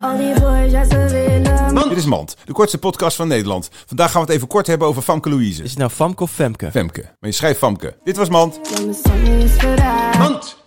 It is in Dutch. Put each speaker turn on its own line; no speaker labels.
Al die boys, ja ze willen
Dit is Mand, de kortste podcast van Nederland. Vandaag gaan we het even kort hebben over Famke Louise.
Is het nou Famke of Femke?
Femke. Maar je schrijft Famke. Dit was Mand.
Ja, mijn Sammy is verraad
Mand!